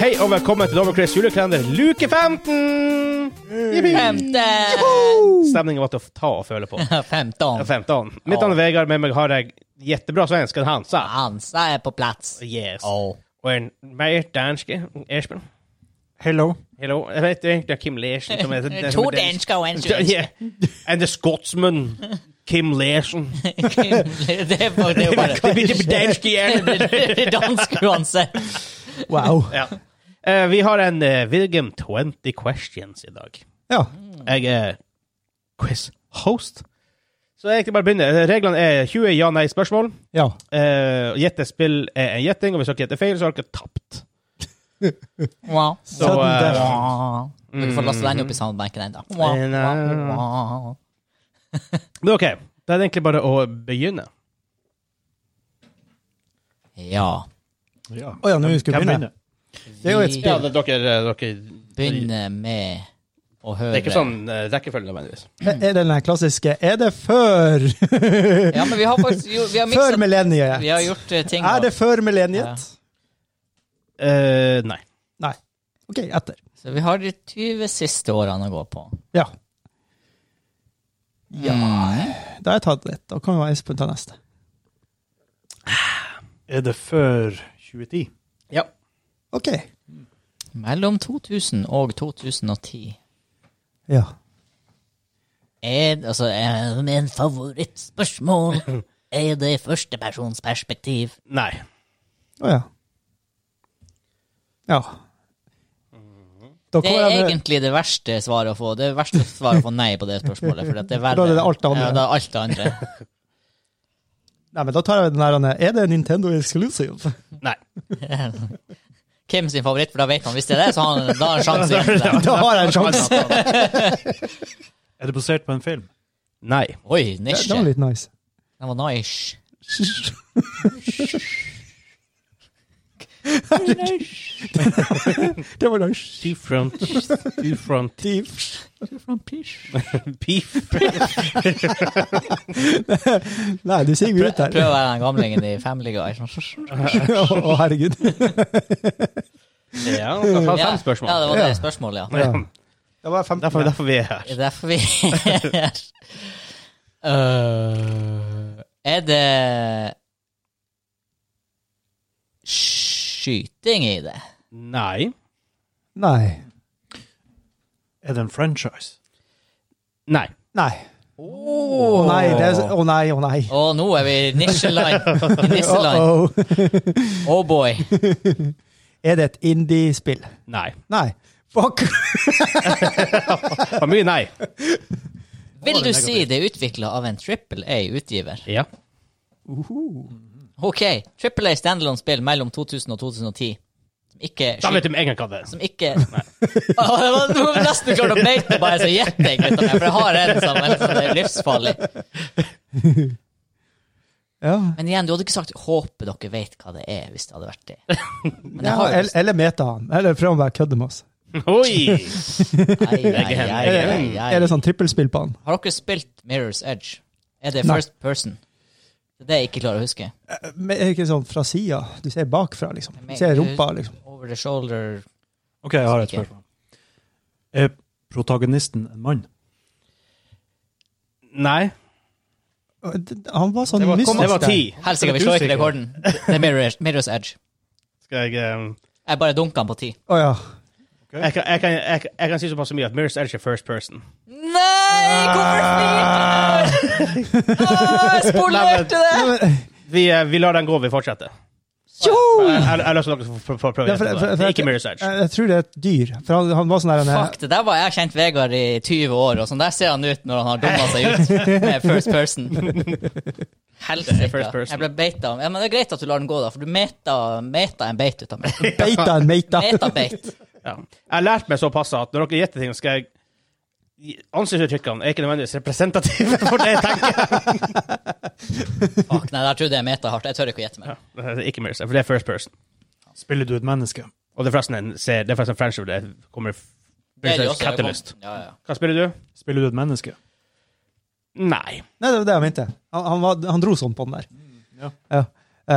Hei og velkommen til Dovercrays julekalender luke 15! Femte! Stemningen var til å ta og føle på. Femton. 15. Mitt navn er Vegard, med meg har jeg jättebra svensk, en Hansa. Hansa er på plats. Yes. Oh. Og en mer dansk Espen. Hello. Hello. Jeg vet egentlig Kim Larsen som heter To dansker og en svensk. Yeah. And the Scotsman Kim Larsen. Det var det var Det bare blir det blir dansk igjen. Det er Dansk uansett. Wow. Ja. Eh, vi har en uh, Virgin 20 questions i dag. Ja. Jeg er quiz-host. Så jeg egentlig bare begynner. Reglene er 20 ja-nei-spørsmål. ja. Uh, Gjettespill er en gjetting, og hvis dere gjetter feil, så har dere tapt. Wow. Så Sudden death. eh, Wow. Du får laste den opp Mm. i soundbanken ennå. Wow, wow, wow. men OK. Da er det egentlig bare å begynne. Ja. eh, Å ja, nå skal vi Hvem begynne. Det er jo et Vi Ja, spill. det, dere, eh, dere Det begynner med å høre er ikke sånn eh, rekkefølge, nødvendigvis. Men Er det den her klassiske Er det før Ja, men vi har faktisk jo, vi har Før mixet- Vi har millenniet? gjort eh, ting Er det før millenniet? Eh, nei. Nei. OK, etter. Så vi har de 20 siste årene å gå på. Ja. Ja Mm. Da har jeg tatt litt. Da kan jeg ta neste. Er det før 2010? Ja. OK. Mellom 2000 og 2010 Ja. er altså, er min favorittspørsmål er det førstepersonsperspektiv. Nei. Å ja. Ja. Da Det kommer er jeg med egentlig det verste svaret å få. Det verste svaret å få nei på det spørsmålet. For at det er verre. Da er det alt det andre. Ja, da er alt det andre. Nei, men da tar jeg den der Anne. Er det Nintendo exclusive? Nei. Hvem sin favoritt, for da vet han. Hvis det er det, så har han, da har han sjanse. til det. Da har jeg en sjanse. Er det basert på en film? Nei. Oi, Det det nisje. var litt nice. Den var nice. Det var nice. Two front, two front beef. Nei, du sier vi ut Prøv der. å være den gamlingen i Family Guy. Å, herregud. Ja, da har fem spørsmål. Ja, det var det spørsmålet, ja. Ja. Det var 15. Derfor, derfor vi er her. Det er derfor vi er her. Øh, Er det skyting i det? Nei. Nei. Er det en franchise? Nei. Nei. Å Oh. nei, det er, å nei, å nei. Å, nå er vi i nisjeland. I nisseland. Uh-oh. Oh boy. Er det et indie-spill? Nei. Nei. Fuck! Det var mye nei. Vil du si det er utvikla av en Triple A-utgiver? Ja. OK. Triple A standalone-spill mellom 2000 og 2010. Som ikke Da vet du med en gang hva det er. som ikke Å, det var- Du var nesten klart å beite bare så gjetting, for jeg har en som som er livsfarlig. Ja. Men igjen, du hadde ikke sagt 'håper dere vet hva det er', hvis det hadde vært det. Men jeg Ja, har jo eller, eller meta han. Eller prøv å bare kødde med oss. Oi! Ai, ai, ikke- ai, det er ai, ai. Er det sånn trippelspill på han? Har dere spilt Mirror's Edge? Er det Nei. first person? Det er det jeg ikke klarer å huske. Men er det ikke sånn fra sida? Du ser bakfra, liksom. Du ser rumpa, liksom. Over the shoulder OK, jeg har et Ikke. spørsmål. Er protagonisten en mann? Nei. Han var sånn Det var, mystisk det var der. ti. Helsike, vi slår ikke rekorden. Det er Mirror's, Mirror's Edge. Skal jeg, eh, Jeg bare dunka den på ti. Å ja. jeg, kan, jeg, kan, jeg, kan- jeg kan si såpass mye at Mirrors Edge er first person. Nei, hvorfor ikke? Jeg spolerte det! Vi, eh, vi lar den gå, vi fortsetter. Jo! Jeg jeg- jeg har lyst til at dere får- får prøve Ja, for- det. for- for- Det er ikke Mirrors Edge. Jeg, jeg tror det er et dyr. For han, han var sånn der han- Fuck, det der var jeg kjent Vegard i 20 år, og sånn der ser han ut når han har dumma seg ut med first person. Helsike. first person. Jeg ble beita. Ja, men det er greit at du lar den gå, da, for du meta, meta en beit ut av meg. Beita en meita. Metabeit. Ja. Jeg har lært meg såpass at når dere gjetter ting, skal jeg Ansiktsuttrykkene er ikke nødvendigvis representative for det jeg tenker. Fuck, nei, der trodde jeg meta hardt. Jeg tør ikke å gjette Ja, det mer. er ikke Mirrors Edge, for det er first person. Spiller du et menneske? Og det er forresten en, ser, det er forresten en franchise hvor det kommer Det er Mirrors de Edge også, det kom- Catalyst. Ja, ja. Hva spiller du? Spiller du et menneske? Nei. Nei, det var det jeg mente. Han, han, var, han dro sånn på den der. Mm. ja. Eh,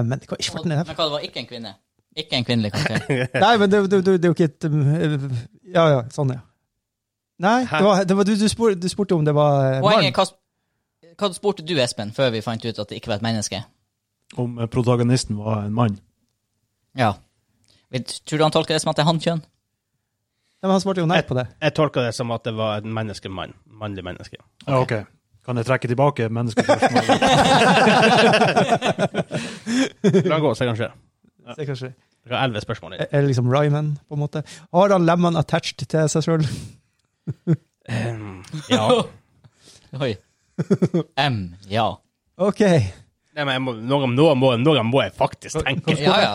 men det kan ikke vært Men den hva, det var ikke en kvinne? Ikke en kvinnelig karakter? Nei, men det, det, det, det er jo ikke et um, Ja, ja, sånn, ja. Nei, Hæ? det var, det var, du, du, spurte, du spurte om det var eh, Poenget er mann. hva, hva spurte du, Espen, før vi fant ut at det ikke var et menneske? Om eh, protagonisten var en mann. Ja. Vi- Tror du han tolker det som at det er han-kjønn? Nei, men han svarte jo nei på det. Jeg tolka det som at det var et menneskemann. Mannlig menneske. Ja, ok. Kan jeg trekke tilbake menneskespørsmålet? La gå, så kanskje. Så det er kanskje Det var elleve spørsmål igjen. Er det liksom Ryman, på en måte? Har han lemmene attached til seg sjøl? Eh, Ja. Oi. M, ja. OK. Nei, men jeg må, noe, noe, må, noe må jeg faktisk tenke. Ja, ja.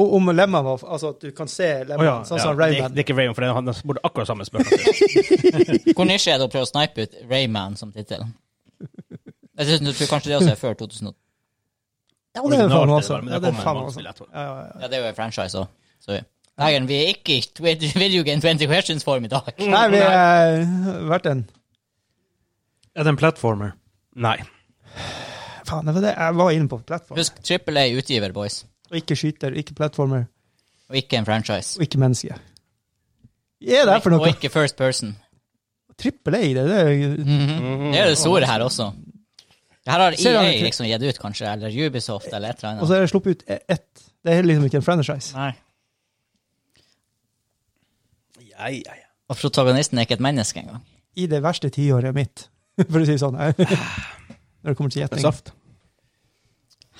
Og om lemmene var Altså at du kan se lemmene, Å, ja, sånn Ja, som det, Rayman. det er ikke Raymond, for det- han spurte akkurat samme spørsmål. Hvor nisje er det å prøve å snipe ut Rayman som tittel? Jeg synes- jeg tror kanskje det også er før 2000. Ja, det er faen meg Originalt, det var, også. men det Ja, det er kommer faen en meg også. vanskelig, jeg tror. Ja, ja, ja. Ja, det er jo en franchise òg. Sorry. Nei, vi er ikke i tw- Video Game 20 Questions-form i dag. Nei, vi har vært en Er det en platformer? Nei. Faen, det var det jeg var inne på. Plattform. Husk, Trippel er utgiver, boys, Og ikke skyter, ikke platformer, og ikke en franchise. og ikke menneske. Hva er det her for Og noe? ikke First Person. Trippel A, det, det er jo Mhm. Det er det store her også. Det her har Ser han EA ikke- liksom gitt ut, kanskje, eller Ubisoft, eller et eller Og så annet. er det sluppet ut ett. Det er liksom ikke en franchise. Nei. Ja, ja, ja. Og protagonisten er ikke et menneske engang. I det verste tiåret mitt, for å si det sånn. Når det kommer til Det er gjetting. saft.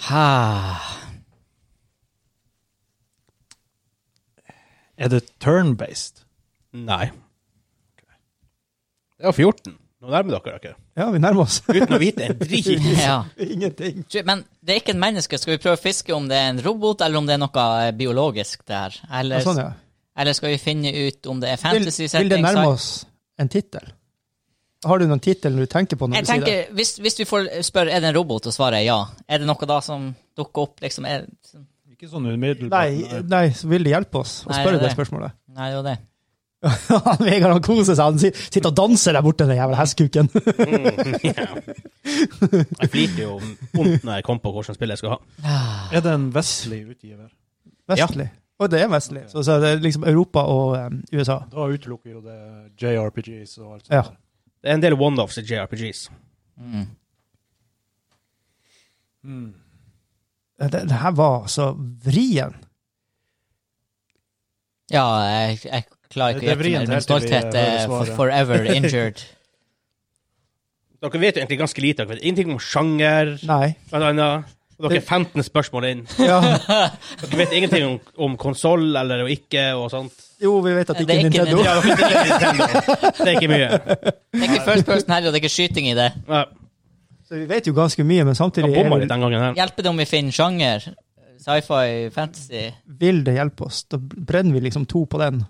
Ha. Er det turn-based? Nei. Det var 14. Nå nærmer dere dere. Ja, vi nærmer oss. Uten å vite en drit. Ja. Ingenting. Tror- Men det er ikke et menneske. Skal vi prøve å fiske om det er en robot, eller om det er noe eh, biologisk der? Eller, Ja, sånn, ja. eller skal vi finne ut om det er Vil, fantasy vil det nærme oss en tittel? Har du noen tittel du tenker på når Jeg du sier det? tenker, hvis, hvis vi får spørre er det en robot, og svaret er ja, er det noe da som dukker opp? liksom? Er, nei, Ikke sånn umiddelbart. Nei, nei, så vil det hjelpe oss å Nei, spørre det er det spørsmålet? det er jo det. Han Vegard han koser seg. Han sit- sitter og danser der borte, den jævla hestekuken. Jeg flirte jo vondt når jeg kom på hvilket spill jeg skulle ha. Er det en vestlig utgiver? Vestlig. Og det er vestlig. Så, så det er liksom Europa og em, USA. Da utelukker jo det JRPGs og alt sånt. Ja. der. Det er en del one-offs i JRPGs. Mm. Mm. Det, det her var så vrien. Ja, jeg, jeg klarer ikke å Det- det gjette vrient mer. helt Min til vi stolthet hører er for, svaret. forever injured. Dere vet jo egentlig ganske lite. Dere vet ingenting om sjanger, Nei. blant annet. Og dere er 15 spørsmål inn. Ja. Dere vet ingenting om, om konsoll eller og ikke og sånt. Jo, vi vet at Det ikke er ikke Nintendo. Nintendo. Ja, dere vet ikke Nintendo. Det er ikke mye. Det er ikke first person heller, og det er ikke skyting i det. Ja, Så vi vet jo ganske mye, men samtidig Jeg bomma litt er, den gangen her. Hjelper det om vi finner sjanger? Sci-fi, fantasy? vil det hjelpe oss. Da brenner vi liksom to på den.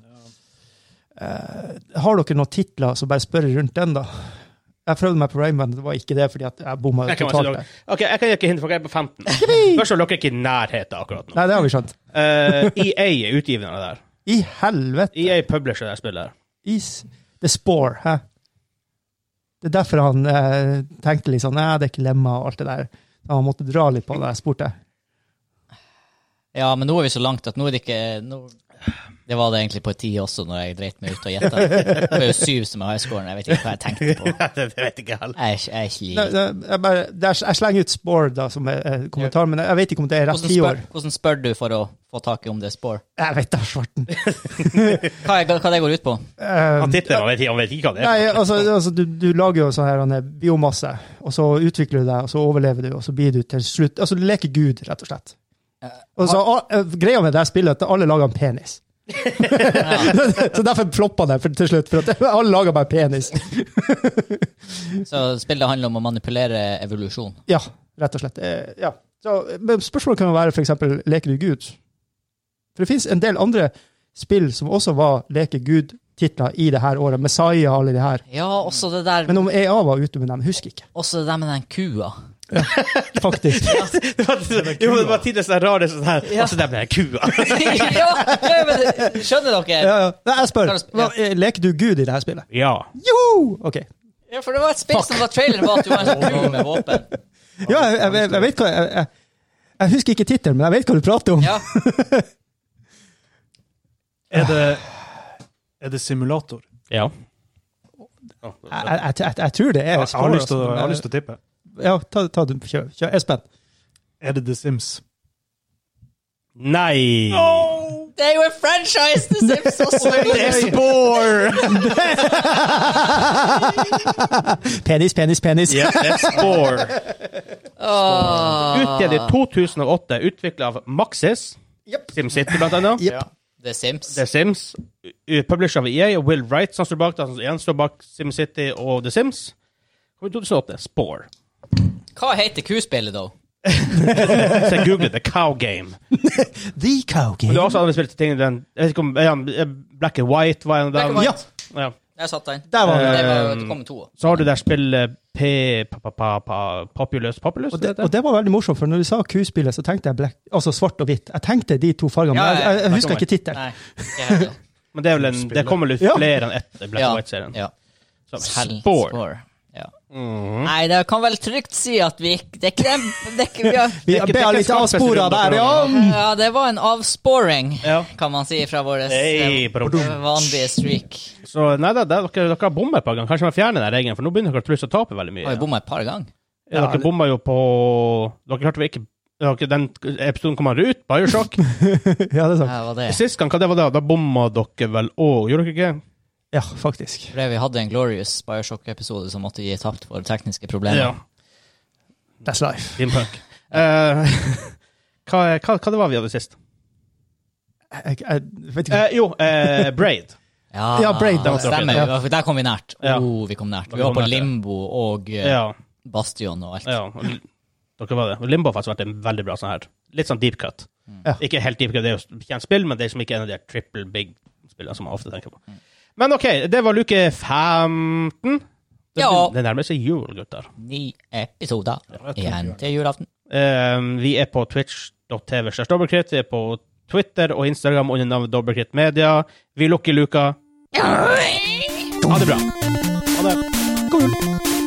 Eh, har dere noen titler, så bare spør rundt den, da. Jeg prøvde meg på Raymond, det var ikke det, fordi at jeg bomma Jeg kan totalt. bare si der. Ok, jeg kan ikke hindre, for jeg er på 15. Først og fremst, dere er ikke i nærheten akkurat nå. Nei, det har vi skjønt. Eh, EA er utgiveren av det der. I helvete! EA publisher det her spillet. her. Is. The Spore, hæ? Det er derfor han eh, tenkte litt sånn Nei, det er ikke lemma og alt det der. Så han måtte dra litt på det. Jeg spurte. Ja, men nå er vi så langt at nå er det ikke nå... Det var det egentlig på ti også, når jeg dreit meg ut og gjetta. Det var jo syv som er highscoren. Jeg vet ikke hva jeg tenkte på. det vet ikke jeg heller. Jeg er ikke, jeg er ikke Nei, lik. nei, Jeg, bare, det er, jeg slenger ut Spore da, som er, eh, kommentar, men jeg, jeg vet ikke om det er rett Hvordan tiår. spør, hvordan spør du for å få tak i om det er spor? Jeg vet da, svarten. Hva, er- hva det går ut på? Eh, Han titter, han vet, han vet ikke hva det er. nei, altså, altså du, du lager jo sånn her han er biomasse, og så utvikler du deg, og så overlever du, og så blir du til slutt Altså, du leker Gud, rett og slett. Og så, og, eh, greia med det her spillet er at alle lager en penis. så derfor floppa det for, til slutt, for at alle lager bare penis. Så spillet handler om å manipulere evolusjon. Ja, rett og slett. Eh, Ja. Så, men spørsmålet kan jo være f.eks.: Leker du Gud? For det fins en del andre spill som også var Leke Gud-titler i det her året. Messiah og alle de her. Ja, også det der, Men om EA var ute med dem, husker ikke. også det der med den kua. Faktisk. Det var, jo, det var tidligere sånn rare sånn her, og så der ble jeg kua. ja, ja, men skjønner dere? Ja, ja. Nei, jeg spør. Ja. Hva- eh, Leker du Gud i det her spillet? Ja. Jo! OK. Ja, for det var et spill som var traileren var at du var en sånn kul med våpen. Ja, jeg, jeg, jeg, jeg vet hva jeg, jeg, jeg husker ikke tittelen, men jeg vet hva du prater om. Ja. Er det, er det simulator? Ja. Jeg, jeg, jeg, jeg tror det er Jeg har lyst til å- jeg har lyst altså, til å tippe. men- Ja, ta, ta, du- kjør, kjør. Jeg er spent. Er det The Sims? Nei! Det er jo en franchise, The Sims også! Espore! Penis, penis, penis. Ja, Espore. Utgitt i 2008, utvikla av Maxis, Yep. SimCity blant annet. Yep. The Sims. The Sims, u- publisher av EA, og Will Wright som står bak det, han som igjen står bak SimCity og The Sims. Kom i 2008, Spore. Hva heter kuspillet, da? Så jeg googlet det, Cow Game. The cow Men game. det er også andre spilte ting i den, jeg vet ikke om, er han- er Black and White var en av Black dem. and White. Ja, Ja. Der satt den. der var Det, det. var, det kom to. Så har du det spillet P... Pa, pa, pa, pa, populous, populous? Og det, og det var veldig morsomt, for når du sa kuspillet, så tenkte jeg black, altså svart og hvitt. Jeg tenkte de to fargene, Ja, men jeg, jeg, jeg ja, husker black ikke tittelen. Nei. det heter det. Men det, er vel en, det kommer litt Ja. flere enn ett Black Ja, and White-serien. ja. Så, Sel- Spore. Ja. Mhm. Nei, det kan vel trygt si at vi ikke- Det er ikke den det er ikke- vi har- Vi Det er ikke- det er ble ikke litt svart avspora spesifikt, der, ja. Ja, det var en avsporing, Ja. kan man si, fra vår Hey, bro. vanlige streak. Så nei, da, da, dere, dere har bommet et par ganger. Kanskje man fjerner den regelen, for nå begynner dere plutselig å tape veldig mye. Har vi bomma et par ganger? Ja, dere bomma jo på Dere klarte vel ikke dere, Den episoden kom aldri ut, Bioshock. Ja, det er sant. Ja, det var det. Sist gang, hva det var da? Da bomma dere vel òg, gjorde dere ikke? Ja, faktisk. Fordi vi hadde en glorious Bioshock-episode som måtte gi tapt for tekniske problemer. Ja. That's life. Steampunk. Eh, hva, hva, hva det var vi hadde sist? Jeg, jeg vet ikke. Eh, jo, eh, Braid. Ja, Ja, Braid, det var stemmer. dere. Vi var- Der kom vi nært. Ja. Oh, vi kom nært. Vi Vi var kom på nært, ja. Limbo og eh, Ja. Bastion og alt. ja. Dere var det. Og Limbo har faktisk vært en veldig bra sånn her. Litt sånn deep cut. Ja. Ikke helt deep cut, det er jo kjent spill, men det er som ikke en av de triple big-spillene som man ofte tenker på. Men OK, det var luke 15. Det, Ja. det nærmer seg jul, gutter. Ni episoder igjen til julaften. Um, vi er på twitch.tv slash dobbeltkritt. Vi er på Twitter og Instagram under navnet Dobbeltkritt Media. Vi lukker luka. Ha det bra. Ha det. God jul.